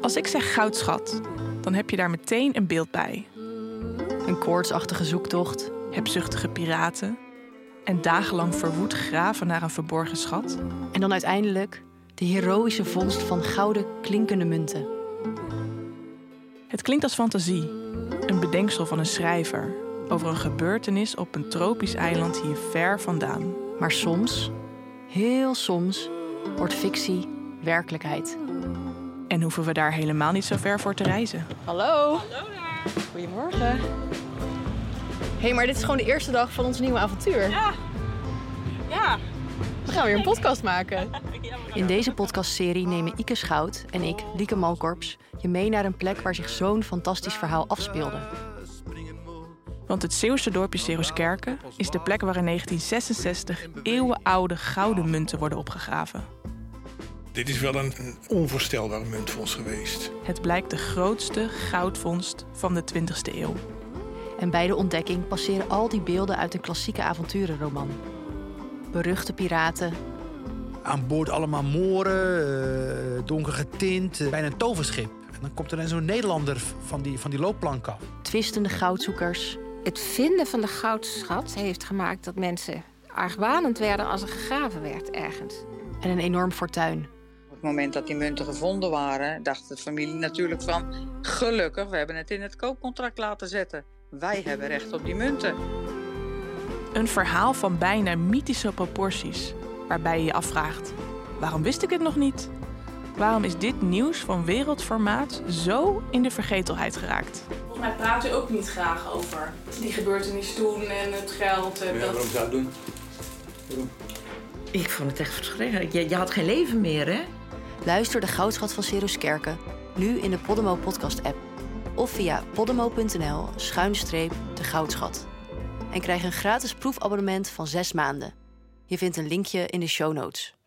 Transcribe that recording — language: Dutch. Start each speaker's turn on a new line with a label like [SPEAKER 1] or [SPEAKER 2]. [SPEAKER 1] Als ik zeg goudschat, dan heb je daar meteen een beeld bij.
[SPEAKER 2] Een koortsachtige zoektocht.
[SPEAKER 1] Hebzuchtige piraten en dagenlang verwoed graven naar een verborgen schat.
[SPEAKER 2] En dan uiteindelijk de heroïsche vondst van gouden klinkende munten.
[SPEAKER 1] Het klinkt als fantasie, een bedenksel van een schrijver over een gebeurtenis op een tropisch eiland hier ver vandaan.
[SPEAKER 2] Maar soms, heel soms, wordt fictie werkelijkheid.
[SPEAKER 1] En hoeven we daar helemaal niet zo ver voor te reizen.
[SPEAKER 2] Hallo. Goedemorgen. Hé, hey, maar dit is gewoon de eerste dag van ons nieuwe avontuur.
[SPEAKER 3] Ja. Ja.
[SPEAKER 2] We gaan weer een podcast maken.
[SPEAKER 3] Ja, we gaan-
[SPEAKER 2] In deze podcastserie nemen Ike Schout en ik, Lieke Malkorps, je mee naar een plek waar zich zo'n fantastisch verhaal afspeelde.
[SPEAKER 1] Want het Zeeuwse dorpje Seruskerken is de plek waar in 1966 eeuwenoude gouden munten worden opgegraven.
[SPEAKER 4] Dit is wel een, een onvoorstelbare munt voor ons geweest.
[SPEAKER 1] Het blijkt de grootste goudvondst van de 20e eeuw.
[SPEAKER 2] En bij de ontdekking passeren al die beelden uit een klassieke avonturenroman. Beruchte piraten,
[SPEAKER 5] Aan boord allemaal moren, eh, donker getint, eh, bijna een toverschip. En dan komt er dan zo'n Nederlander v- van die, van die loopplank af.
[SPEAKER 2] twistende goudzoekers,
[SPEAKER 6] Het vinden van de goudschat heeft gemaakt dat mensen argwanend werden als er gegraven werd ergens.
[SPEAKER 2] en een enorm fortuin.
[SPEAKER 7] Op het moment dat die munten gevonden waren, dacht de familie natuurlijk van... gelukkig, we hebben het in het koopcontract laten zetten. Wij hebben recht op die munten.
[SPEAKER 1] Een verhaal van bijna mythische proporties, waarbij je je afvraagt: waarom wist ik het nog niet? Waarom is dit nieuws van wereldformaat zo in de vergetelheid geraakt?
[SPEAKER 3] Volgens mij praat u ook niet graag over die gebeurtenis toen en het geld. En dat.
[SPEAKER 4] zou doen?
[SPEAKER 8] Ik vond het echt verschrikkelijk. Je, je had geen leven meer, hè?
[SPEAKER 2] Luister de Goudschat van Siruskerken nu in de Podemo podcast app of via podemo.nl schuinstreep de goudschat. En krijg een gratis proefabonnement van 6 maanden. Je vindt een linkje in de show notes.